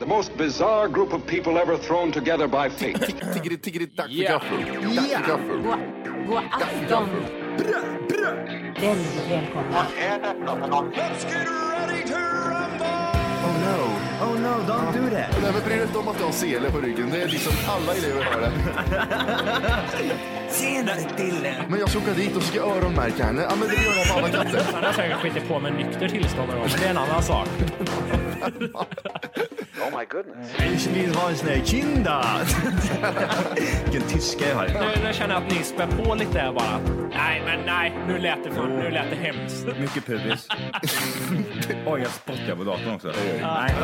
The most bizarre group of people ever thrown together by fate. Tiggeri, tiggeri, dags för gaffel. Dags för gaffel. God afton! Väldigt välkomna. Oh no. Oh no, don't do that. Nej, men bry dig inte om att du har sele på ryggen. Det är liksom alla elever har det. Senare Dille. Men jag ska åka dit och ska öronmärka henne. Ja, men det gör jag på alla katter. Han har säkert skitit på med nykter tillstånd någon gång, men det är en annan sak. Ich will ha en kinda. Vilken tyska jag har. Nu, nu känner jag att ni spär på lite här bara. Nej, men nej, nu lät det, för, nu lät det hemskt. Mycket pubis. Oj, jag spottar på datorn också. Nej.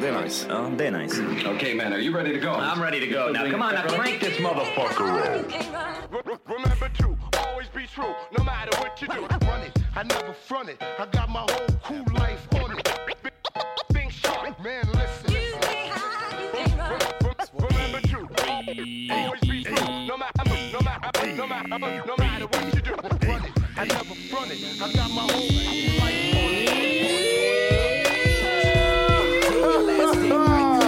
Det är nice. Ja, det är nice. okay, man, are you ready to go? I'm ready to go now. Come on, now crank this motherfucker roll. Remember to always be true, no matter what you do. Run it, I never front it. I got my whole cool life on it. Think sharp, man. Listen. Remember to always be true, no matter, no matter, no matter, no matter what you do. Run it, I never front it. I got my whole cool life on it. Ah!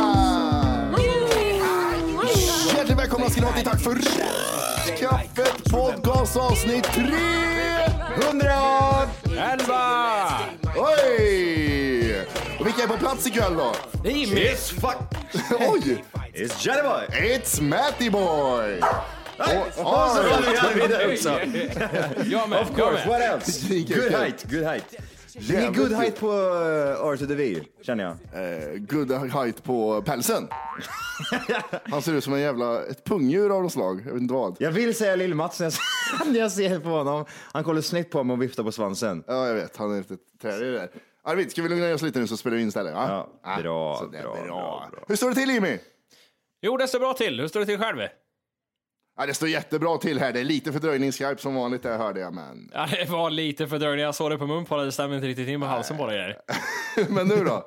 Hjärtligt välkomna ska ni vara till Tack för kaffet podcast avsnitt 311! Oj! Och vilka är på plats ikväll då? Det är Jimmy. Oj! It's Jelly Boy! It's Matty Boy! Och, Så oj! kommer jag vidare också. Jag med. Of course, what else? Vilken Good kul. height, good height. Det är Jävligt good height på eh, Arthur DeVille, känner jag. Eh, good height på pälsen. Han ser ut som en jävla, ett pungdjur av något slag. Jag vet inte vad. Jag vill säga Lill-Mats när jag ser- när jag ser på honom. Han kollar snett på mig och viftar på svansen. Ja, jag vet. Han är lite trälig där. Arvid, ska vi lugna ner oss lite nu så spelar vi in istället? Ah, Ja, bra, sådär, bra, bra, bra. Hur står det till Jimmy? Jo, det står bra till. Hur står det till själv? Ja, det står jättebra till här. Det är lite fördröjning i Skype som vanligt, det hörde jag. Men, Ja, det var lite fördröjning. Jag såg det på mun på dig. Det stämmer inte riktigt in på halsen på dig. där. men nu då?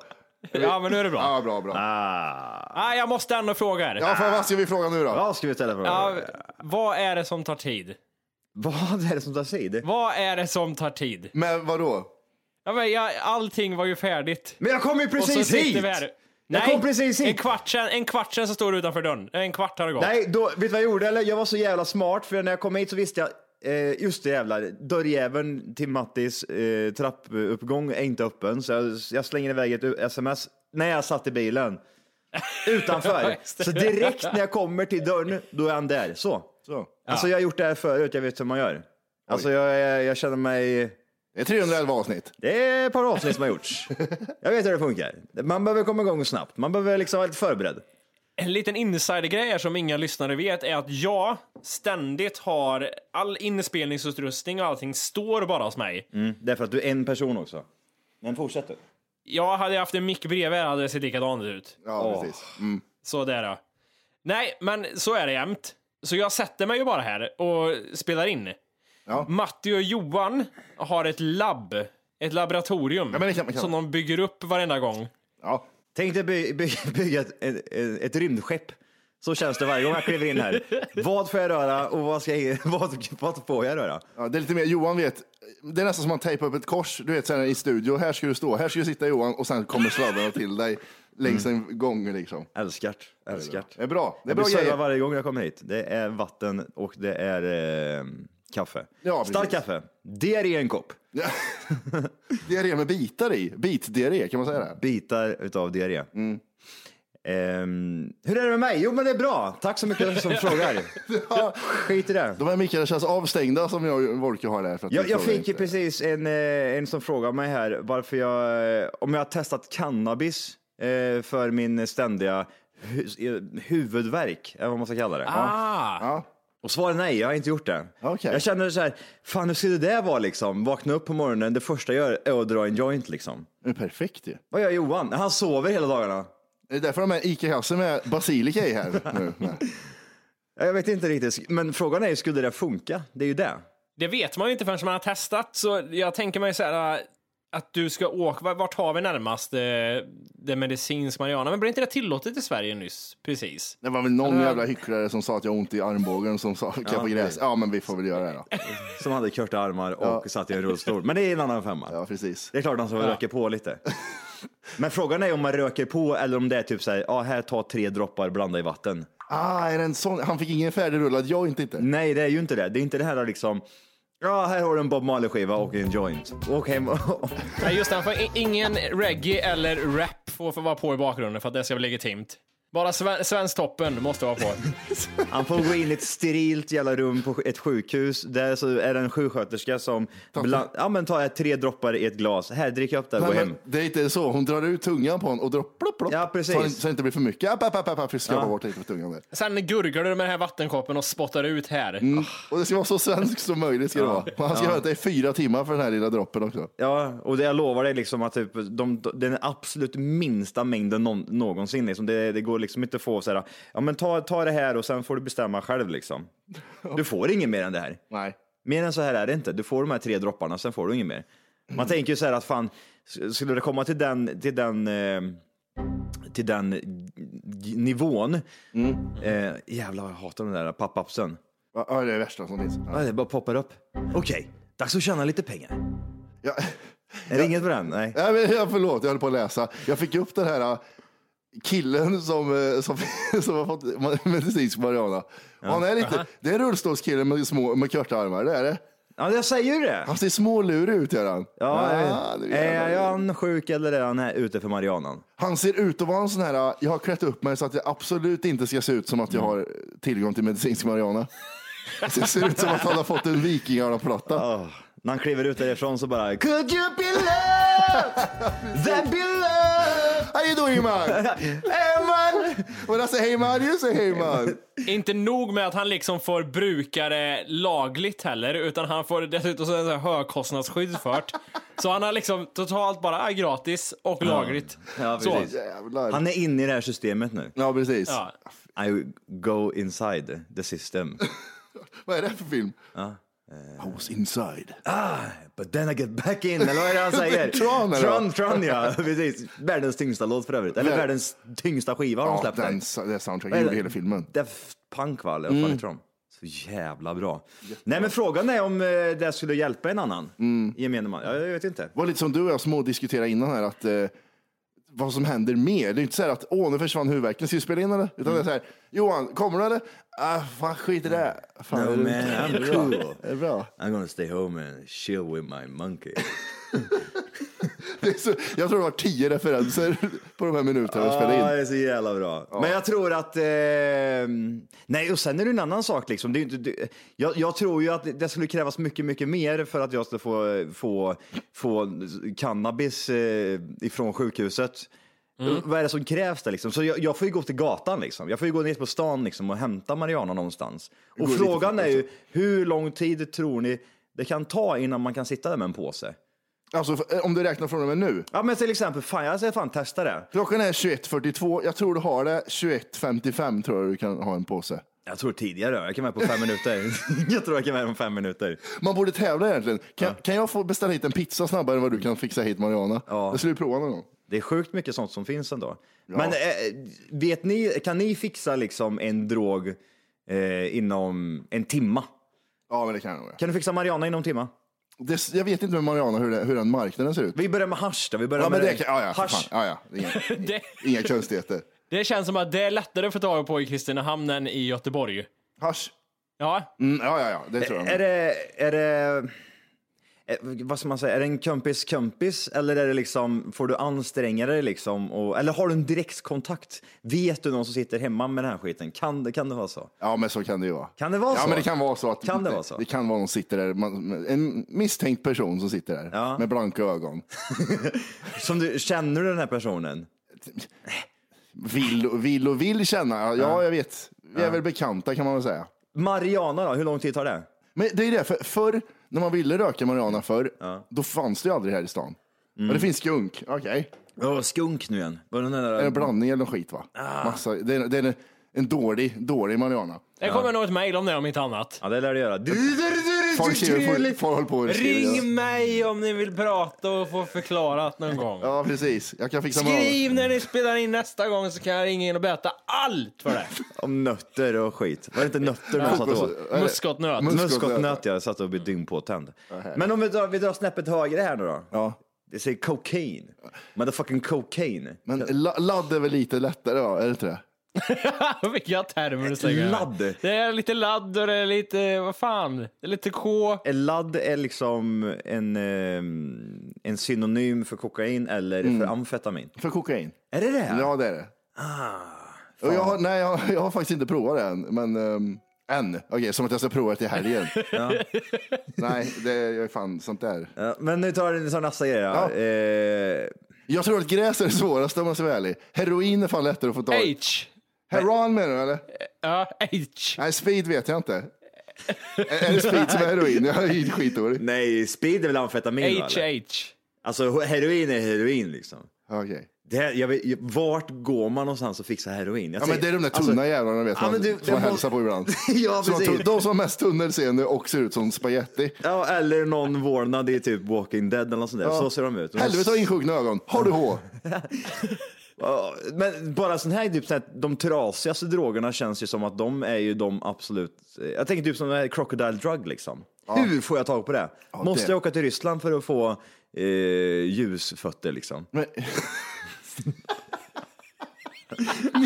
Ja, men nu är det bra. Ja, bra, bra. Ah. Nej, jag måste ändå fråga er. Ja, för vad ska vi fråga nu då? Vad ska vi ställa för Ja, vad är det som tar tid? Vad är det som tar tid? Vad är det som tar tid? Men vadå? Ja, men jag, allting var ju färdigt. Men jag kom ju Och så precis sitter hit! vi här. Jag kom precis hit. En kvart sen, en kvart sen så står du utanför dörren. En kvart har det gått. Nej, då, vet du vad jag gjorde? Eller? Jag var så jävla smart, för när jag kom hit så visste jag Eh, just det jävlar, dörrjäveln till Mattis eh, trappuppgång är inte öppen så jag, jag slänger iväg ett u- sms när jag satt i bilen utanför. så direkt när jag kommer till dörren, då är han där. Så. Så. Alltså jag har gjort det här förut, jag vet hur man gör. Alltså jag, jag, jag känner mig... Det är 311 avsnitt. Det är ett par avsnitt som har gjorts. Jag vet hur det funkar. Man behöver komma igång snabbt, man behöver liksom vara lite förberedd. En liten insidergrej här som inga lyssnare vet är att jag ständigt har all inspelningsutrustning och allting står bara hos mig. Mm. Därför att du är en person också. Men fortsätt du. Jag hade haft en mick bredvid hade det sett likadant ut. Ja, precis. Mm. Så där då. Nej, men så är det jämt. Så jag sätter mig ju bara här och spelar in. Ja. Matti och Johan har ett labb, ett laboratorium Ja, men det kan man- kan som man. de bygger upp varenda gång. Ja. Tänk dig by, by, bygga ett, ett, ett rymdskepp. Så känns det varje gång jag kliver in här. Vad får jag röra och vad, ska jag, vad, vad får jag röra? Ja, det är lite mer, Johan vet, det är nästan som att tejpa upp ett kors, du vet så här i studio, här ska du stå, här ska du sitta Johan och sen kommer slavarna till dig längs en gång liksom. Älskar't, älskar't. Det är bra, det är Jag bra blir servad grejer. varje gång jag kommer hit. Det är vatten och det är eh, kaffe. Ja, precis. Starkt kaffe. Diarré i en kopp. Diarré med bitar i. Bitdiarré, kan man säga det? Bitar utav diarré. Mm. Ehm, hur är det med mig? Jo, men det är bra. Tack så mycket som frågar. Skit i det. De här mickarna känns avstängda som jag och Wolke har där. För att Jag, du jag frågar fick ju inte. precis en, eh, en som frågade mig här varför jag, eh, om jag har testat cannabis eh, för min ständiga hu- eh, huvudvärk, eller vad man ska kalla det. Ah. Ja. Och svaret är nej, jag har inte gjort det. Okej. Jag känner så här, fan hur skulle det där vara liksom? Vakna upp på morgonen, det första jag gör är att dra en joint liksom. Det är perfekt ju. Vad gör Johan? Han sover hela dagarna. Det är därför de här Ica-kassen med basilika i här nu. Nej. Jag vet inte riktigt, men frågan är ju, skulle det där funka? Det är ju det. Det vet man ju inte förrän man har testat, så jag tänker mig så här äh, att du ska åka, vart har vi närmast eh, det medicinsk marijuana? Men blev inte det tillåtet i Sverige nyss? Precis. Det var väl någon jävla hycklare som sa att jag har ont i armbågen som sa kan jag få gräs? Ja, men vi får väl göra det då. Som hade korta armar och satt i en rullstol. Men det är en annan femma. Ja, precis. Det är klart de som röker på lite. Men frågan är om man röker på eller om det är typ så här, ah, här ta tre droppar, blanda i vatten. Ah, är det en sån? Han fick ingen färdigrullad joint inte. Nej, det är ju inte det. Det är inte det här liksom, ja här har du en Bob Marley-skiva och en joint. Åk hem och... Nej, just det, han får i- ingen reggae eller rap får, får vara på i bakgrunden för att det ska bli legitimt. Bara sven, Svensktoppen måste vara på. Han får gå in i ett sterilt jävla rum på ett sjukhus. Där så är det en sjuksköterska som, bland... ja men ta här tre droppar i ett glas. Här, drick upp det och Nej, gå hem. men det är inte så. Hon drar ut tungan på honom och drar plopp, plopp. Ja, precis. Ah. Så, han- så det inte blir för mycket. App, app, app, app, app, för att skrapa bort lite på tungan där. Sen gurglar du med den här vattenkoppen och spottar ut här. Mm. Och det ska vara så svenskt som möjligt. Ska det vara. Och han ska vänta i fyra timmar för den här lilla droppen också. Ja, och det jag lovar dig liksom att typ, de, de- den absolut minsta mängden någon, någonsin. Liksom. Det, det går liksom inte att få så här, ja men ta, ta det här och sen får du bestämma själv liksom. Du får inget mer än det här. Nej. Mer än så här är det inte. Du får de här tre dropparna, sen får du inget mer. Man tänker ju så här att fan, s- skulle det komma till den, till den, eh, till den g- nivån. Eh, jävlar vad jag hatar den där pappapsen. Ja, det är det värsta som finns. Ja. Ja, det bara poppar upp. Okej, dags att tjäna lite pengar. Ja. Är det inget på den? Nej. Nej, men, jag, förlåt, jag höll på att läsa. Jag fick upp den här äh, killen som, äh, som, som har fått ma- medicinsk marijuana. Och Han är lite, det är en rullstolskille med, små, med korta armar, det är det. Ja, jag säger ju det. Han ser smålurig ut, gör han. Ja, Ah, jag det vet. är är, jävla- är han sjuk eller är han här ute för Marianan? Han ser ut att vara en sån här, äh, jag har klätt upp mig så att jag absolut inte ska se ut som att jag har äh, tillgång till medicinsk marijuana. Det ser ut som att han har fått en vikingarna-platta. När han kliver ut därifrån så bara Could you be loved? That be loved? How you doing man? Hey man! When I say hey man, you say hey man. Inte nog med att han liksom får bruka det lagligt heller, utan han får dessutom sån här högkostnadsskydd fört. Så han har liksom totalt bara ah, gratis och lagligt. Ja, precis. Jävlar. Han är inne i det här systemet nu. Ja, precis. Ja. I go inside the system. Vad är det för film? eh. House inside. But then I get back in, eller vad är det han säger? Tron, eller? Tron, Tron ja, precis. Världens tyngsta låt för övrigt. Eller Vär- världens tyngsta skiva har de Ja, släppt. den, det soundtracket gjorde hela filmen. Daft Punk va? Eller vad fan Mm. heter de? Så jävla bra. Nej men frågan är om eh, det skulle hjälpa en annan Mm. gemene man. Ja, Jag vet inte. Det var lite som du och jag små diskuterade innan här, att eh, vad som händer mer. Det är inte så här att åh, nu försvann huvudvärken, ska vi spela in eller? Utan Mm. det är så här, Johan, kommer du eller? Ah, fan, skit i det. Fan, No är man, det- I'm är det bra? cool. Är det bra? I'm gonna stay home and chill with my monkey. Det är så, jag tror det var tio referenser på de här minuterna vi spelade Ja, in. det är så jävla bra. Men jag tror att... Eh, nej, och sen är det en annan sak. Liksom. Det är ju inte, det, jag, jag tror ju att det skulle krävas mycket, mycket mer för att jag skulle få, få, få cannabis eh, ifrån sjukhuset. Mm. Vad är det som krävs där liksom? Så jag, jag får ju gå till gatan liksom. Jag får ju gå ner på stan liksom och hämta Mariana någonstans. Och dit frågan och- är ju, hur lång tid tror ni det kan ta innan man kan sitta där med en påse? Ah. Alltså, f- om du räknar från och med nu. Ja men till exempel, fan jag säger fan testa det. Klockan är 21.42, jag tror du har det. 21.55 tror jag du kan ha en påse. Jag tror tidigare, jag kan vara på fem minuter. jag tror jag kan vara på fem minuter. Man borde tävla egentligen. Kan, kan jag få beställa hit en pizza snabbare än vad du kan fixa hit Mariana? Ja. Det skulle vi prova någon gång. Det är sjukt mycket sånt som finns ändå. Men eh, vet ni, kan ni fixa liksom en drog eh, inom en timma? Ja, men det kan jag nog. ja. Kan du fixa Mariana inom en timma? Det, jag vet inte med Mariana hur, det, hur den marknaden ser ut. Vi börjar med hasch då. Vi börjar Ja, men med det kan, ja, ja, för hasch. fan. ja, ja. Inga, Det, inga konstigheter. det känns som att det är lättare att få tag på i Kristinehamn än i Göteborg. Hasch. Ja. Mm, ja, ja, ja, det tror jag. Är det, är det, eh, vad ska man säga, är det en kompis kompis eller är det liksom, får du anstränga dig liksom? Och, eller har du en direktkontakt? Vet du någon som sitter hemma med den här skiten? Kan, det- kan det vara så? Ja, men så kan det ju vara. Kan det vara ja, så? Men det kan vara så. Att Kan det vara så? Det kan vara någon som sitter där, man, en misstänkt person som sitter där Ja. med blanka ögon. Som du, känner du den här personen? Vill, och- vill och vill känna, ja, jag vet. Vi är väl bekanta kan man väl säga. Mariana då, hur lång tid tar det? Men det är det, för, förr när man ville röka marijuana förr, då fanns det ju aldrig här i stan. Men det finns skunk, okej. Oh, skunk nu igen. Var det den där, Är det blandning eller någon skit va? Massa, det är, det är en, en dålig, dålig marijuana. Det kommer nog ett mejl om det om inte annat. ja, det lär du göra. Du, Folk skriver, folk, folk håller på och skriver. Ring mig om ni vill prata och få förklarat någon gång. Ja, precis. Jag kan fixa med Skriv när ni spelar in nästa gång så kan jag ringa in och berätta allt för det. om nötter och skit. Var det inte nötter man satt alltså, åt? Muskotnöt. Mus- Äh, Muskotnöt, jag satt och blev dyngpåtänd. Men om vi drar, vi drar snäppet högre här nu då. Ja. Det säger cocaine. Motherfucking cocaine. Men la- ladd är väl lite lättare va? Är det inte det? Vilka termer du säger. Ladd. Det är lite ladd och det är lite, vad fan, det är lite K. En ladd är liksom en, ehm, en synonym för kokain eller för amfetamin. För kokain? Är det Ah. det? Mm. Ja, det är det. Och jag, har- nej, jag, har- jag har faktiskt inte provat det än. Men, um, än. Okej, som att jag ska prova det till helgen. nej, det jag är fan sånt där. Ja, men nu tar vi tar nästa grej då. Eh, Jag tror att gräs är det svåraste om man ska vara ärlig. Heroin är fan lättare att få tag i. H. Heroin menar du eller? Ja, H. Nej, speed vet jag inte. är är det speed som är heroin? Jag är skitdålig. nej, speed är väl amfetamin? va, H, eller? H. Alltså heroin är heroin liksom. Okej. Det här, jag vet, vart går man någonstans och fixar heroin? Jag Ja, men det är de där tunna jävlarna vet alltså- ja, man, men du- som man jag må- hälsar på ibland. Ja, Som har precis. tun- de som har mest tunnelseende och ser ut som spaghetti. Ja, eller någon vårdnad i typ Walking Dead eller något sånt där. Så ser de ut. Helvete vad insjunkna ögon. Har du H? Ja, Men bara sån här, typ, sån här, de trasigaste drogerna känns ju som att de är ju de absolut, jag tänker typ som den här crocodile drug liksom. Hur får jag tag på det? Måste det- jag åka till Ryssland för att få eh, ljusfötter liksom? Men...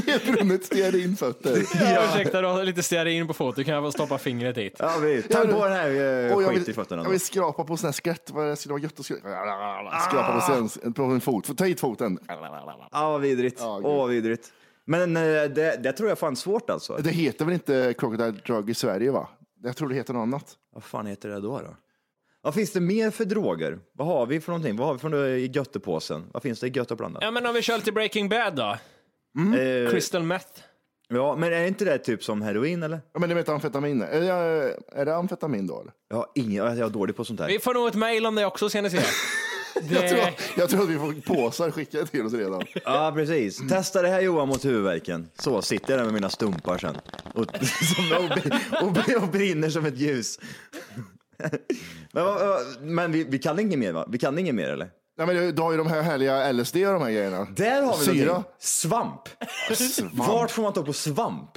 Nedbrunnet stearinfötter. Ja. Ursäkta, du har lite stearin på foten. Kan jag bara stoppa fingret dit? Ja, vi tar på den här Och eh, jag skit i vill, fötterna. jag då. vill skrapa på sån här skvätt. Vad det skulle vara gött att skrapa. Skrapa på, Ah. sen, på en fot. Ta hit foten. Ja, vad vidrigt. Åh, Ja, gud. vad vidrigt. Men eh, det, det tror jag fan svårt alltså. Det heter väl inte Crocodile Drug i Sverige va? Jag tror det heter något annat. Vad fan heter det då? då? Vad finns det mer för droger? Vad har vi för någonting? Vad har vi för något i göttepåsen? Vad finns det i gött blandat? Ja, men om vi kör lite Breaking Bad då. Eh, Crystal meth. Ja, men är inte det typ som heroin eller? Ja, men det heter amfetamin. Är det, är det amfetamin då? Eller? Jag, har ingen, jag är dålig på sånt här. Vi får nog ett mejl om det också ska ni se. Jag, tror, Det... jag tror att vi får påsar skickade till oss redan. Ja, precis. Testa det här Johan mot huvudvärken. Så sitter jag där med mina stumpar sen och, som, och, och, och brinner som ett ljus. Men, vad- vad- men vi, vi kan inget mer va? Vi kan inget mer eller? Nej, men du har ju de här härliga LSD och de här grejerna. Där har vi Syra. någonting. Svamp. Svamp. Eh. Vart får man ta på svamp?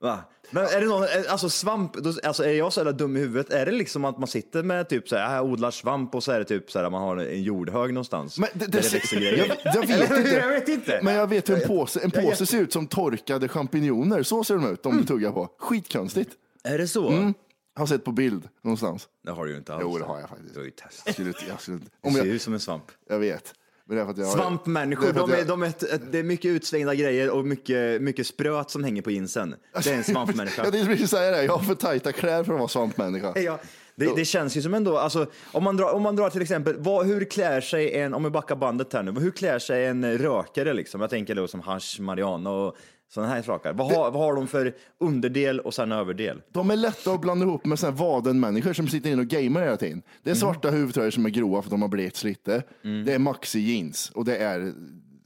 Va? Men är det någon, alltså svamp, då, alltså är jag så jävla dum i huvudet? Är det liksom att man sitter med typ så här, jag odlar svamp och så är det typ så här, man har en jordhög någonstans? Men det, där det, växer jag, grejer. jag vet Eller hur? inte. Jag vet inte. Men jag vet hur en påse, en jag- Mm. påse ser ut som torkade champinjoner. Så ser de ut om du tuggar på. Skitkonstigt. Är det så? Har sett på bild någonstans. Det har du ju inte alls. Jo, det har jag faktiskt. Du har ju Jag testat. skulle, inte- jag, skulle, inte- Du om ser jag, ut som en svamp. jag vet. Men det är för att jag, Svampmänniskor, det är för de att är, jag- de är ett, ett, det är mycket utsvängda grejer och mycket, mycket spröt som hänger på jeansen. Det är en svampmänniska. Jag tänkte precis säga det. Jag har för tajta kläder för att vara svampmänniska. Ja, det, det känns ju som ändå, alltså, om, man drar, om man drar till exempel, vad, hur klär sig en, om vi backar bandet här nu, hur klär sig en rökare liksom? Jag tänker då som hasch, marijuana och sådana här saker. Vad, har, vad har de för underdel och sen överdel? De är lätta att blanda ihop med såna här vadenmänniskor som sitter inne och gamer hela tiden. Det Mm. är svarta huvudtröjor som är gråa för att de har blekts lite. Det är maxi jeans och det är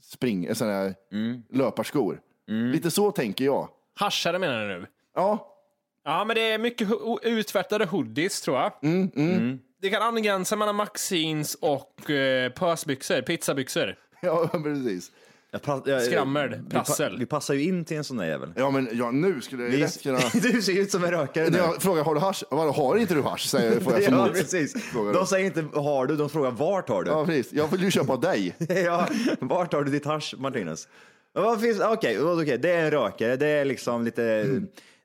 spring, eh, såna här Mm. löparskor. Lite så tänker jag. Haschare menar du nu? Ja, Ja, men det är mycket ho- o- uttvättade hoodies tror jag. Mm. Det kan angränsa mellan maxins och eh, pösbyxor, pizzabyxor. ja precis. Jag pra- jag- Skrammel, vi pa- prassel. Vi passar ju in till en sån där jävel. Ja, men ja, nu skulle jag ju lätt kunna... Du ser ju ut som en rökare När nu. jag frågar har du hasch? Vadå, har inte du hasch? Säger jag, får jag som Ja, mot- precis. frågar De då. säger inte har du, de frågar vart har du? Ja, precis. Jag vill ju köpa av dig. ja, vart har du ditt hasch, Martinus? Men Vad finns, okej, okay, det är en rökare, det är liksom lite,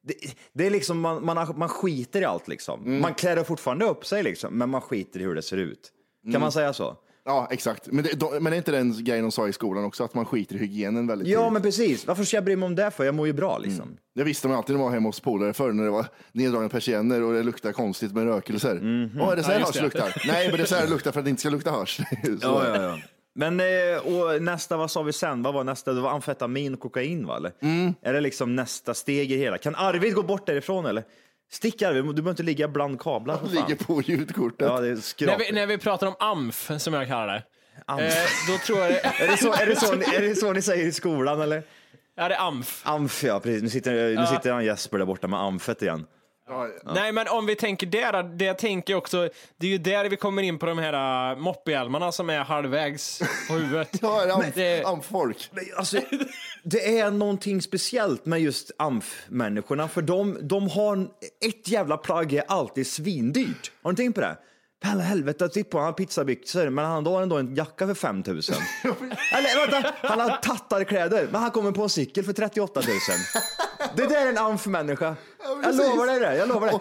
det, det är liksom, man, man, har- man skiter i allt liksom. Man klär fortfarande upp sig liksom, men man skiter i hur det ser ut. Kan man säga så? Ja, exakt. Men, det, de, men är inte den grejen de sa i skolan också, att man skiter i hygienen väldigt Ja, tidigt? men precis. Varför ska jag bry mig om det för? Jag mår ju bra liksom. Det visste man alltid när man var hemma hos polare förr när det var neddragna persienner och det luktade konstigt med rökelser. Åh, är det så här Ja, just hörs det. luktar? Nej, men det är så här det luktar för att det inte ska lukta hörs. Så. Ja, ja, ja. Men eh, och nästa, vad sa vi sen? Vad var nästa? Det var amfetamin och kokain va? Eller? Mm. Är det liksom nästa steg i hela? Kan Arvid gå bort därifrån eller? Stick Arvid, du behöver inte ligga bland kablar för Det fan. ligger på ljudkortet. Ja, det är När skrap. vi, när vi pratar om AMF, som jag kallar det, eh, Mm. Amf. då tror jag det... Är det, så, är, det så, ni- är det så ni säger i skolan eller? Ja, det är AMF. Amf ja, precis. Nu sitter, nu sitter han Jesper där borta med amfet igen. Nej, men om vi tänker där, det jag tänker också, det är ju där vi kommer in på de här äh, moppehjälmarna som är halvvägs på huvudet. Ja, är det amf- det- amfolk? Men Alltså, det är någonting speciellt med just AMF-människorna, för de, de har ett jävla plagg är alltid svindyrt. Har ni tänkt på det? För Hela helvete, titta på han har pizzabyxor, men han då har ändå en jacka för 5 000. Eller vänta, han har tattarkläder, men han kommer på en cykel för 38 000. Det där är en AMF-människa. Jag precis. lovar dig det, jag lovar dig.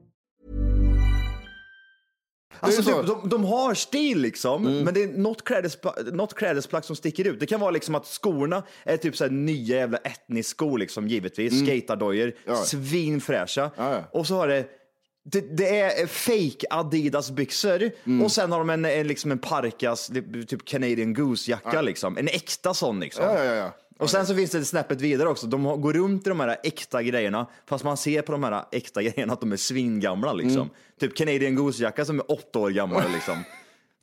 Alltså, Det är Mm. typ, de, de har stil liksom, men det är något, klädespla- något klädesplagg som sticker ut. Det kan vara liksom att skorna är typ så här nya jävla etniskskor liksom, givetvis. Mm. Skatardojor, Ja. svinfräscha. Ja, ja. Och så har det, det, det är fake Adidas byxor Mm. och sen har de en, en, liksom en Parkas, typ Canadian Goose-jacka liksom. En äkta sån liksom. Ja, ja, ja, ja. Och sen så finns det snäppet vidare också. De har- går runt i de här äkta grejerna, fast man ser på de här äkta grejerna att de är svingamla liksom. Typ Canadian Goose-jacka som är åtta år gammal liksom.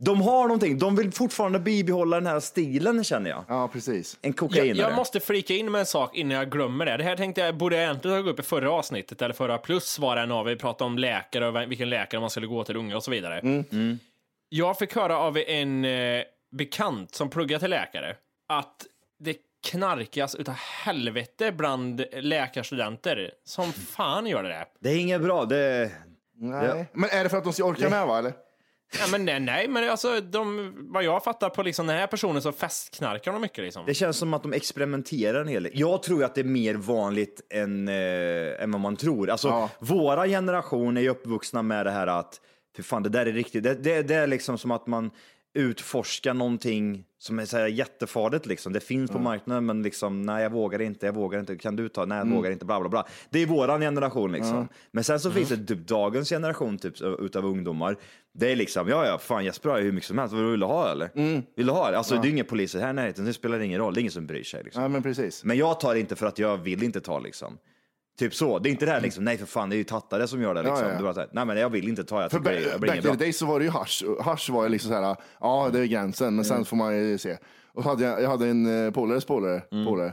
De har någonting. De vill fortfarande bibehålla den här stilen känner jag. Ja, precis. En Jag, kokainare. jag måste flika in med en sak innan jag glömmer det. Det här tänkte jag, borde jag egentligen ha tagit upp i förra avsnittet eller förra plus var det en av vi pratade om läkare och vem- vilken läkare man skulle gå till unga och så vidare. Jag fick höra av en eh, bekant som pluggar till läkare att det knarkas utav helvete bland läkarstudenter. Som fan gör det det. Det är inget bra. Det... Nej. Men är det för att de ska orka med va, eller? Ja, men nej, nej, men alltså de, vad jag fattar på liksom den här personen så festknarkar de mycket liksom. Det känns som att de experimenterar en hel del. Jag tror att det är mer vanligt än, eh, än vad man tror. Alltså, Ja. Våra generation är ju uppvuxna med det här att, för fan det där är riktigt, det, det, det är liksom som att man utforskar någonting som är så här jättefarligt liksom. Det finns på marknaden men liksom, nej jag vågar inte, jag vågar inte, kan du ta, nej jag vågar inte, bla bla bla. Det är våran generation liksom. Men sen så finns det typ dagens generation typ utav ungdomar. Det är liksom, ja ja, fan Jesper har ju hur mycket som helst, vad vill du ha eller? Mm. Vill du ha det? Alltså det är ju inga poliser här i närheten, det spelar ingen roll, det är ingen som bryr sig. Liksom. Ja, men precis. Men jag tar inte för att jag vill inte ta liksom. Typ så, det är inte det här liksom, nej för fan det är ju tattare som gör det liksom. ja, ja. Du bara så här, nej men jag vill inte ta, jag För tycker jag ba- blir back inget in the bra. days så var det ju hasch. Hasch var ju liksom så här, ja det är gränsen, men Mm. sen får man ju se. Och hade jag, jag hade en eh, polares polare, polare,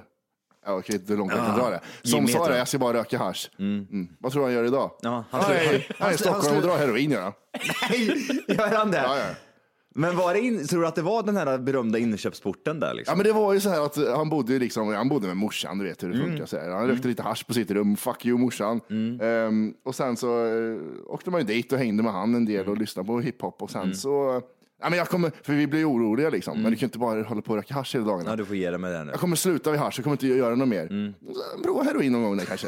ja, okej, hur långt jag kan Ja. dra det, som Mm. Ah, Jimmy sa heter det, han. jag ska bara röka hasch. Mm. Vad tror du han gör idag? Ja, han han, tror- han- är, han är i han- Stockholm han- och drar heroin gör han. Gör han det? Ja, ja. Men var det in, tror du att det var den här berömda innerköpsporten där liksom? Ja, men det var ju så här att han bodde, ju liksom, han bodde med morsan, du vet hur det Mm. funkar. Så här. Han rökte lite hasch på sitt rum, fuck you morsan. Ehm, Mm. och sen så eh, åkte man ju dit och hängde med han en del och lyssnade på hiphop och sen så, Ja, men jag kommer, för vi blir oroliga liksom. Men du kan ju inte bara hålla på och röka hasch hela dagarna. Mm. Ja, Mm. du får ge dig med det nu. Jag kommer sluta vid hasch, jag kommer inte göra något mer. Eh, Prova heroin någon gång där kanske.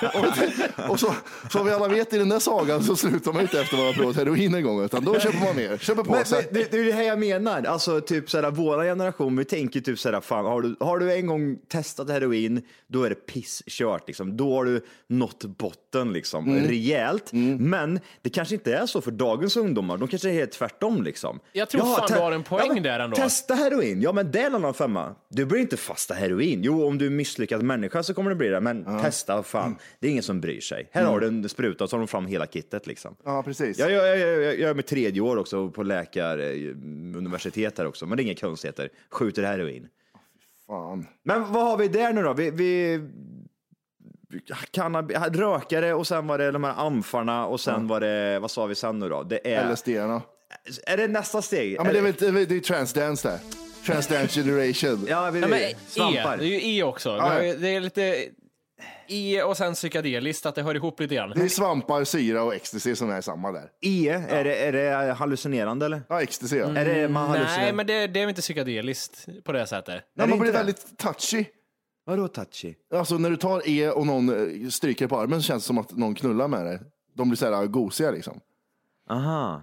och och så, som vi alla vet i den där sagan så slutar man inte efter att man har provat heroin en gång, utan då köper man mer, köper på Men, men, sig. det, det är det här jag menar. Alltså, typ såhär, våra generation, vi tänker typ såhär, fan, har du, har du en gång testat heroin, då är det pisskört. Liksom. Då har du nått botten liksom, Mm. rejält. Men det kanske inte är så för dagens ungdomar. De kanske är helt tvärtom. Liksom. Jag tror Jaha, fan te- du har en poäng Ja, men där ändå. Testa heroin, ja men det är en annan femma. Du blir inte fast av heroin. Jo, om du är misslyckad människa så kommer du bli det, men testa, fan. Mm. Det är ingen som bryr sig. Här har du en spruta och så har de fram hela kittet liksom. Ja, precis. Jag, jag, jag, jag, jag är med tredje år också på läkaruniversitet här också, men det är inga konstigheter. Skjuter heroin. Fan. Men vad har vi där nu då? Vi, vi, cannabis, rökare och sen var det de här amfarna och sen var det, vad sa vi sen nu då? Det är, LSD -arna. är det nästa steg? Ja, men det är väl det är väl- det är transdance där. Transdance generation. Ja, vi, Ja, men svampar. E, det är ju E också. Ja, ja. Det är lite E och sen psykedeliskt, att det hör ihop lite grann. Det är svampar, syra och ecstasy som är samma där. E, är, det, är det hallucinerande eller? Ja, ecstasy ja. Mm. Är det man hallucinerar? Nej, men det, det är väl inte psykedeliskt på det sättet. Nej, man det blir inte det? väldigt touchy. Vadå touchy? Alltså när du tar E och någon eh, stryker på armen så känns det som att någon knullar med dig. De blir så här gosiga liksom. Aha.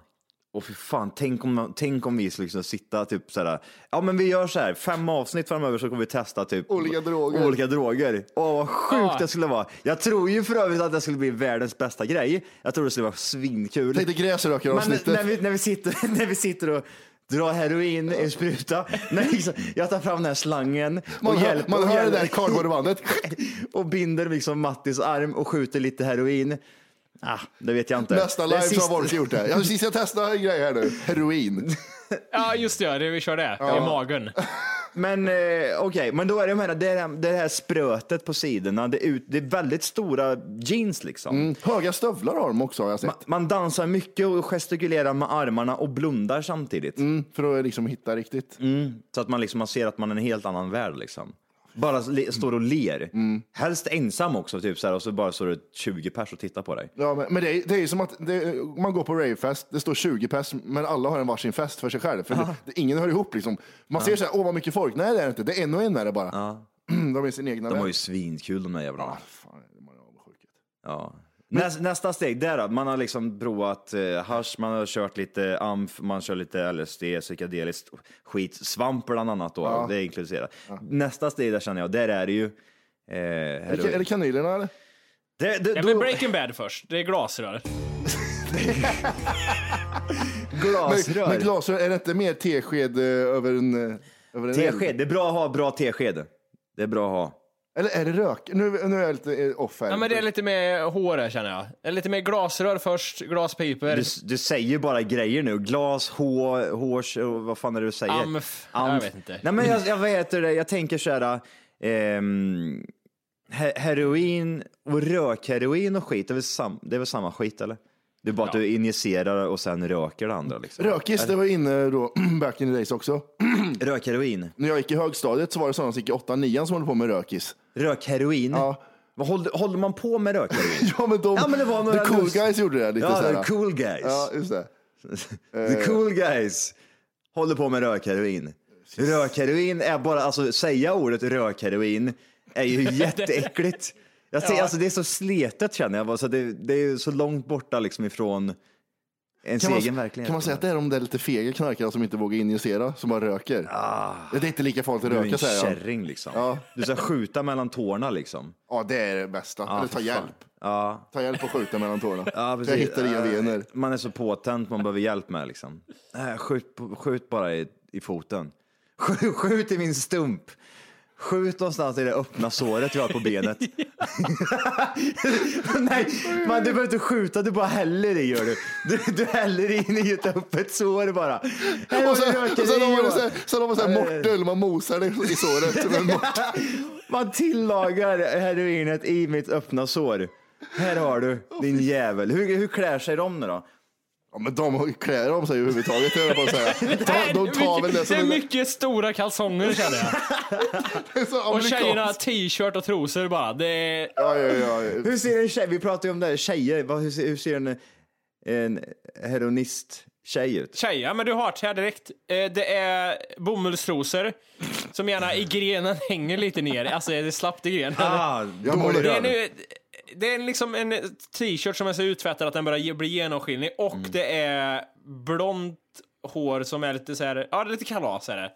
Och för fan, tänk om, tänk om vi skulle liksom sitta typ såhär, ja men vi gör så här, fem avsnitt framöver så kommer vi testa typ Olika droger. Olika droger. Åh vad sjukt det skulle vara. Jag tror ju för övrigt att det skulle bli världens bästa grej. Jag tror det skulle vara svinkul. Tänk dig Men gräsrökaravsnittet. när vi, när, vi sitter, när vi sitter och drar heroin i en spruta, när liksom, jag tar fram den här slangen Man och hör, hjälper man och, hör det hjälper- där kardborrebandet. och binder liksom Mattis arm och skjuter lite heroin. Ah, det vet jag inte. Nästa Det live är så sist- har Wolke gjort det. Jag, sist jag testade en grej här nu. Heroin. Ja, just det. Ja, det vi kör det. I magen. Men eh, okej, men då är det, jag menar, det, här, det här sprötet på sidorna, det är, ut, det är väldigt stora jeans liksom. Mm. Höga stövlar har de också har jag sett. Ma- Man dansar mycket och gestikulerar med armarna och blundar samtidigt. Mm, för att liksom hitta riktigt. Så att man, liksom, man ser att man är en helt annan värld liksom. Bara le, står och ler. Mm. Helst ensam också, typ så här, och så bara står det 20 pers och tittar på dig. Ja, men, men det, är, det är ju som att det, man går på ravefest, det står 20 pers, men alla har en varsin fest för sig själv. För det, det, ingen hör ihop liksom. Man ser så här, åh vad mycket folk. Nej det är det inte, det är en och en är det bara. De är sin egna De värld. har ju svinkul de där jävlarna. Fan, det var avundsjukt. Ja. Näs, nästa steg, där då. Man har liksom provat eh, hasch, man har kört lite amf, man kör lite LSD, psykedeliskt skit, svamp bland annat då, det är inkluderat. Nästa steg där känner jag, där är det ju... Eh, Är det, är det kanylerna eller? det, det, Ja, då- men Breaking Bad först. Det är glasrör. Men, glasrör. men glasrör, är det inte mer tesked eh, över en... eh, Över en Tesked, eld? det är bra att ha bra tesked. Det är bra att ha. Eller är det rök? Nu, nu är jag lite eh, off här. Ja, men det är lite mer hår här, känner jag. Det är Lite mer glasrör först, glaspipor. Du, du säger bara grejer nu. Glas, hår, hårs, och vad fan är det du säger? Amf. Jag vet inte. Nej, men jag, jag, vad heter det? jag tänker så här. ehm, he, heroin och rökheroin och skit, det är, väl sam, det är väl samma skit eller? Det är bara att du injicerar och sen röker det andra. Liksom. Rökis, det var inne då, back in the days också. Rökheroin. När jag gick i högstadiet så var det sådana som gick i 8 9 som höll på med rökis. Rökheroin. Ja. Vad håller, håller man på med rökheroin? Ja men de, Ja, men det var the några cool lust- guys gjorde det lite ja, såhär. the cool guys. Ja, just det. The cool guys håller på med rökheroin. Rökheroin är bara, alltså säga ordet rökheroin är ju jätteäckligt. Jag ser, alltså, det är så sletet känner jag, bara, så det, det är ju så långt borta liksom ifrån ens Kan egen man, verklighet. kan man säga att det är de där lite fega knarkarna som inte vågar injicera, som bara röker? Det är inte lika farligt att Du är en röka säger jag. kärring liksom. Ja. Du ska skjuta mellan tårna liksom. Ja, det är det bästa. Eller ta för fan. hjälp. Ja, Ta hjälp och skjuta mellan tårna. ja jag precis. Eh, hittar inga vener. Man är så påtänd man behöver hjälp med liksom. Nej, Skjut, på- skjut bara i, i foten. Skjut, skjut i min stump. Skjut någonstans i det öppna såret jag har på benet. Nej, man, du behöver inte skjuta, du bara häller i gör du. Du, du häller in i ett öppet sår bara. Här Och har sen, du och sen har man så här- rökeri. sen har man så här Ja, det- mortel, man mosar det i såret. med en mortel. Man tillagar heroinet i mitt öppna sår. Här har du, din jävel. Hur, hur klär sig de nu då? Ja, men de klär om sig överhuvudtaget, höll jag på att säga. Ta- De tar väl det det som är en- mycket stora kalsonger, känner jag. så Och amerikanskt. tjejerna har t-shirt och trosor bara. Det är... Ja, ja, ja. Hur ser en tjej, vi pratar ju om det här, tjejer, vad, hur, ser, hur ser en, en heroinist Tjej ut. Tjej, ja men du har det här direkt. Eh, Det är bomullsrosor som gärna i grenen hänger lite ner. Alltså det är slappt i grenen. Ah, jag mår det, är röd. nu, det är liksom en t-shirt som är så utvättad att den börjar ge- bli genomskinlig och Mm. det är blont hår som är lite så här, ja det är lite kalas är det.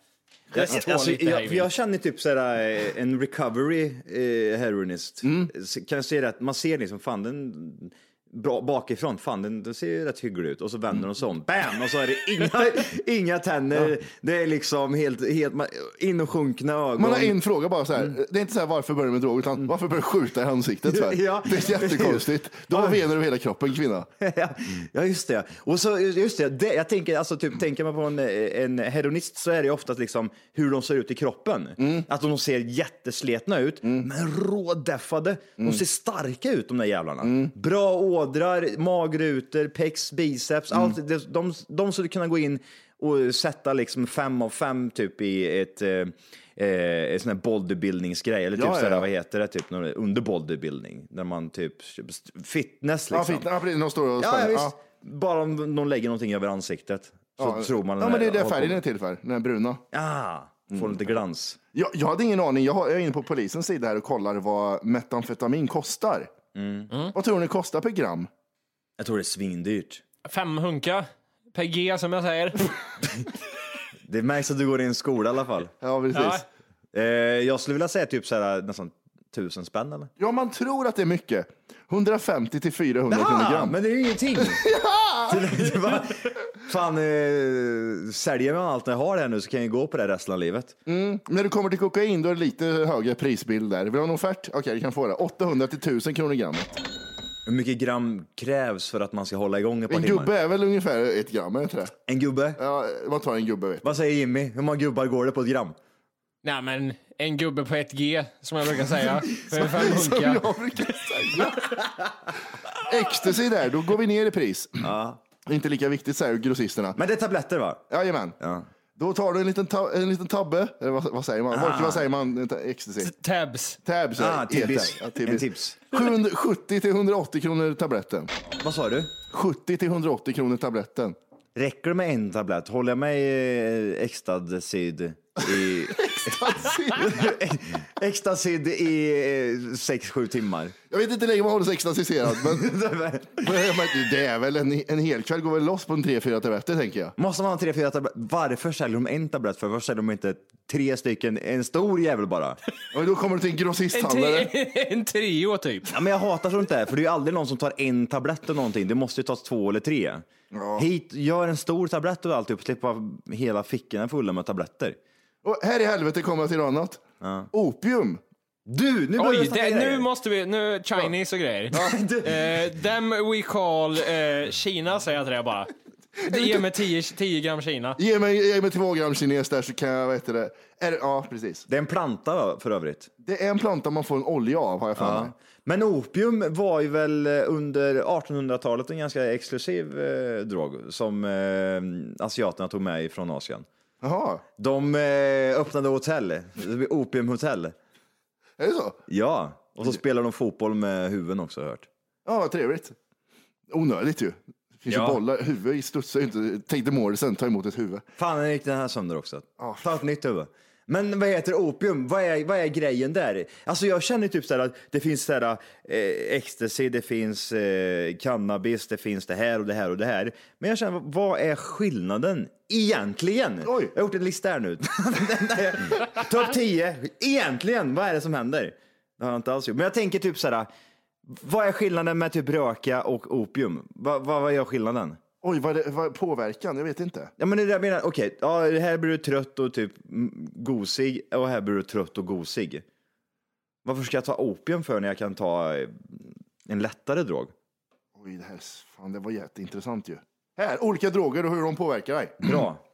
Det är Jag, två alltså, lite jag, heavy. för jag känner typ såhär, eh, en recovery eh, heroinist. Så Kan jag se det att man ser liksom, fan den bra, bakifrån, fan den, den ser ju rätt hygglig ut. Och så vänder de sig om, bam! Och så är det inga, inga tänder. Det är liksom helt, helt man- in och sjunkna ögon. Man har en fråga bara så här. Mm. Det är inte så här varför börjar du med droger, utan varför börjar du skjuta i ansiktet? Så här. Ja. Det är jättekonstigt. Du har vener över hela kroppen kvinna. ja, Mm. ja, just det. Och så, just det, det jag tänker, alltså, typ, tänker man på en, en hedonist så är det ju oftast liksom hur de ser ut i kroppen. Mm. Att de ser jättesletna ut, men rådeffade. De Mm. ser starka ut de där jävlarna. Bra ådrar, magrutor, pex, biceps. Mm. Allt, de, de, de skulle kunna gå in och sätta liksom fem av fem typ i ett eh, Eh, en sån här bodybuildningsgrej, eller typ Ja, ja, sådär, ja. vad heter det, typ någon- under bodybuilding, där man typ fitness Ja, liksom. fint. Ja, precis. Någon står och Ja, spänner. ja, visst. Ja. Bara om de lägger någonting över ansiktet så Ja. tror man... Ja, men det är det färgen Mm. är till för, den här bruna. Ah, får lite glans. Jag, jag hade ingen aning. Jag har- jag är inne på polisens sida här och kollar vad metamfetamin kostar. Mm. Vad tror ni kostar per gram? Jag tror det är svindyrt. Fem hunka per G som jag säger. Det märks att du går i en skola i alla fall. Ja, precis. Ja. Eh, jag skulle vilja säga typ så här, nästan tusen spänn eller? Ja, man tror att det är mycket. 150 till 400 kronor gram. men det är ju ingenting. Det är bara, Fan, eh, säljer man allt jag har här nu så kan jag ju gå på det resten av livet. Mm. När du kommer till kokain, då är det lite högre prisbild där. Vill du ha en offert? Okej, du kan få det. 800 till 1000 kronor grammet. Hur mycket gram krävs för att man ska hålla igång ett par En timmar? gubbe är väl ungefär ett gram, är det inte det? En gubbe? Ja, man tar en gubbe, vet Vad säger Jimmy? Hur många gubbar går det på ett gram? Nej men en gubbe på 1G som jag brukar säga. För fem du. Som hunka. jag brukar säga. Ecstasy där, då går vi ner i pris. Inte lika viktigt, säger grossisterna. Men det är tabletter va? Jajamän. Ja. Då tar du en liten, ta- en liten tabbe, eller vad, vad säger man? Vad- Vad säger man? Ecstasy? Tabs. Tabs, Ah, ja, tibbis. heter det. Ja, En tips. 770 till 180 kronor tabletten. Vad sa du? 70 till 180 kronor tabletten. Räcker det med en tablett? Håller jag mig eh, Extacid i... Extacid i 6-7 timmar? Jag vet inte längre vad håller sig extasiserad, men men det är väl en, en hel kväll går väl loss på en tre fyra tabletter tänker jag. Måste man ha tre, fyra tabletter? Varför säljer de en tablett för? Varför säljer de inte tre stycken? En stor jävel bara. Och då kommer du till en En, grossisthandlare. tri- en trio typ. Ja, men jag hatar sånt där, för det är ju aldrig någon som tar en tablett av någonting. Det måste ju tas två eller tre. Hit, gör en stor tablett och alltihop, slippa hela fickorna fulla med tabletter. Och här i helvete kommer jag till något annat. Opium. Du, nu börjar jag Oj, snacka det, grejer. nu måste vi... Nu, Chinese och grejer. Eh, them we call eh, Kina, säger jag till det bara. Det ger mig 10 10 gram Kina. Ge mig, ge mig två gram kines där så kan jag, vad heter det? Är, det- ja, precis. Det är en planta va, för övrigt. Det är en planta man får en olja av har jag för mig. Men opium var ju väl eh, under 1800-talet en ganska exklusiv eh, drog som eh, asiaterna tog med från Asien. Jaha, De eh, öppnade hotell, opiumhotell. är det så? Ja, och så spelar de fotboll med huvuden också har jag hört. Ja, vad trevligt. Onödigt ju. Det finns Ja. ju bollar, huvud studsar ju inte. Tänk dig Morrison, ta emot ett huvud. Fan, den gick den här sönder också. Ta ett nytt huvud. Men vad heter opium? Vad är, vad är grejen där? Alltså jag känner typ så här att det finns så här, eh, ecstasy, det finns eh, cannabis, det finns det här och det här och det här. Men jag känner, vad är skillnaden egentligen? Oj. Jag har gjort en lista här nu. Topp 10, egentligen, vad är det som händer? Det har jag inte alls gjort. Men jag tänker typ så här, vad är skillnaden med typ röka och opium? Vad, vad, vad är skillnaden? Oj, vad, är det, vad är påverkan? Jag vet inte. Ja men det är det jag menar, okej, ja, det här blir du trött och typ mm, gosig och här blir du trött och gosig. Varför ska jag ta opium för när jag kan ta eh, en lättare drog? Oj, det här, fan, det var jätteintressant ju. Här, olika droger och hur de påverkar dig. Bra.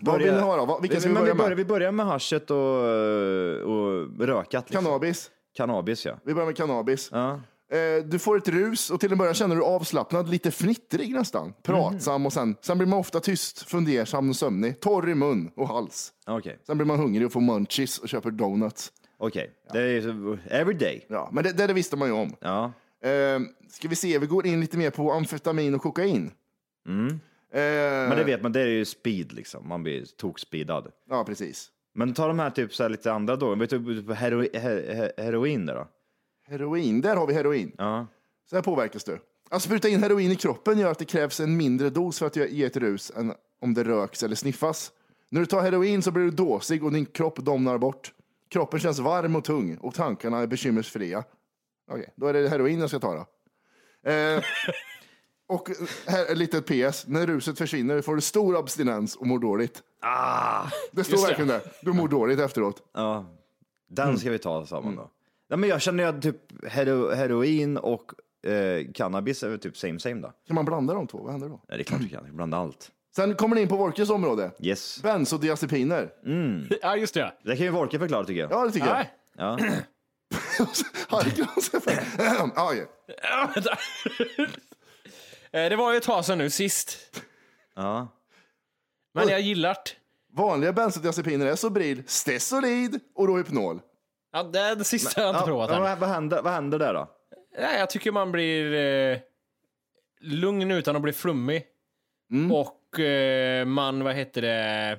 Vad vill ni ha då? Vad- Vilka ska vi Men börja vi, börjar, med? vi börjar med haschet och, eh, och rökat. Liksom. Cannabis. Cannabis ja. Vi börjar med cannabis. ja. Eh, Du får ett rus och till en början känner du dig avslappnad, lite fnittrig nästan. Pratsam Mhm. och sen, sen blir man ofta tyst, fundersam och sömnig. Torr i mun och hals. Okej, Sen blir man hungrig och får munchies och köper donuts. okej. Det är ju every day. Ja, men det, det, det visste man ju om. Ja. Eh, ska vi se, vi går in lite mer på amfetamin och kokain. Mm. Men det vet man, det är ju speed liksom. Man blir tokspeedad. Ja, precis. Men ta de här typ så här lite andra droger. Vet du, på hero- he- he- heroin där då? Heroin, där har vi heroin. Ja. Så här påverkas du. Att spruta in heroin i kroppen gör att det krävs en mindre dos för att ge ett rus än om det röks eller sniffas. När du tar heroin så blir du dåsig och din kropp domnar bort. Kroppen känns varm och tung och tankarna är bekymmersfria. Okej, då är det heroin jag ska ta då. Eh, och här är ett litet PS. När ruset försvinner får du stor abstinens och mår dåligt. Ah, det står just det. verkligen där. Du mår dåligt efteråt. Ja, den ska vi ta samman då. Ja, men jag känner ju att typ hero, heroin och eh, cannabis är väl typ same same då. Kan man blanda de två? Vad händer då? Ja, det är klart du kan, blanda allt. Sen kommer ni in på Wolkes område. Yes. Bensodiazepiner. Ja, just det. Det kan ju Wolke förklara tycker jag. Ja, det tycker jag. Nej. Ja. Ah, okej. Ja, vänta. Eh, det var ju ett tag sedan nu sist. ja. Men jag gillar't. Vanliga bensodiazepiner är Sobril, Stesolid och Rohypnol. Ja, det är det sista jag inte Ja, provat ja, än. vad, vad, händer, vad händer där då? Nej, jag tycker man blir eh, lugn utan att bli flummig. Och eh, man, vad heter det,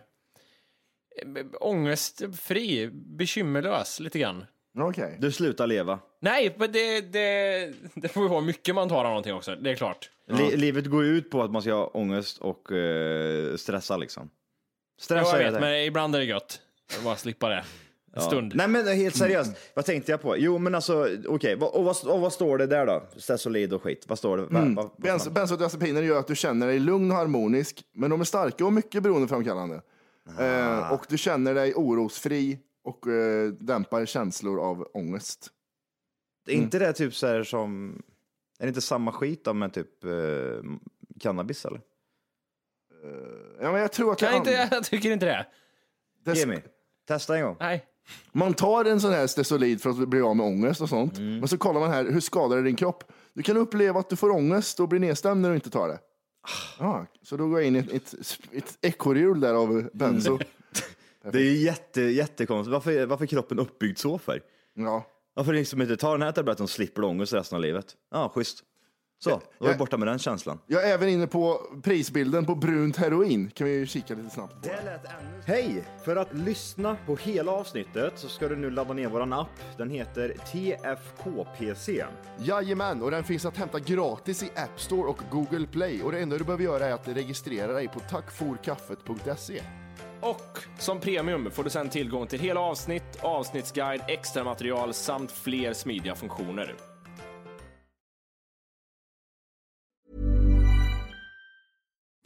eh, ångestfri, bekymmerlös lite grann. Okej. Du slutar leva. Nej, men det, det, det får ju vara mycket man tar av någonting också, det är klart. Li, livet går ju ut på att man ska ha ångest och eh, stressa liksom. Jo, Stressa jag är det. vet, men ibland är det gött. Jag bara slippa det. En Ja. stund. Nej men helt seriöst, vad tänkte jag på? Jo men alltså okej, vad- och, vad, och vad står det där då? Stesolid och skit, vad står det? Va- Mm. va- vad- Bens- Bensodiazepiner gör att du känner dig lugn och harmonisk, men de är starka och mycket beroendeframkallande. Eh, och du känner dig orosfri och eh, dämpar känslor av ångest. Är inte det typ så här som, är det inte samma skit då med typ eh, cannabis eller? Ja, men jag tror att det Kan är inte, an- jag tycker inte det. det- Ge mig, testa en gång. Nej. Man tar en sån här Stesolid för att bli av med ångest och sånt, men så kollar man här, hur skadar det din kropp? Du kan uppleva att du får ångest och blir nedstämd när du inte tar det. Ah, så då går jag in i ett, ett, ett ekorrhjul där av benzo. Det är ju jätte, jättekonstigt, varför, varför är kroppen uppbyggd så för? Ja. Varför liksom inte ta den här tabletten och slipper du ångest resten av livet? Ja, schysst. Så, då är vi jag- borta med den känslan. Jag är även inne på prisbilden på brunt heroin. Kan vi kika lite snabbt? Hej! För att lyssna på hela avsnittet så ska du nu ladda ner våran app. Den heter TFKPC. Jajamän, och den finns att hämta gratis i App Store och Google Play. Och det enda du behöver göra är att registrera dig på tackforkaffet.se. Och som premium får du sen tillgång till hela avsnitt, avsnittsguide, extra material samt fler smidiga funktioner.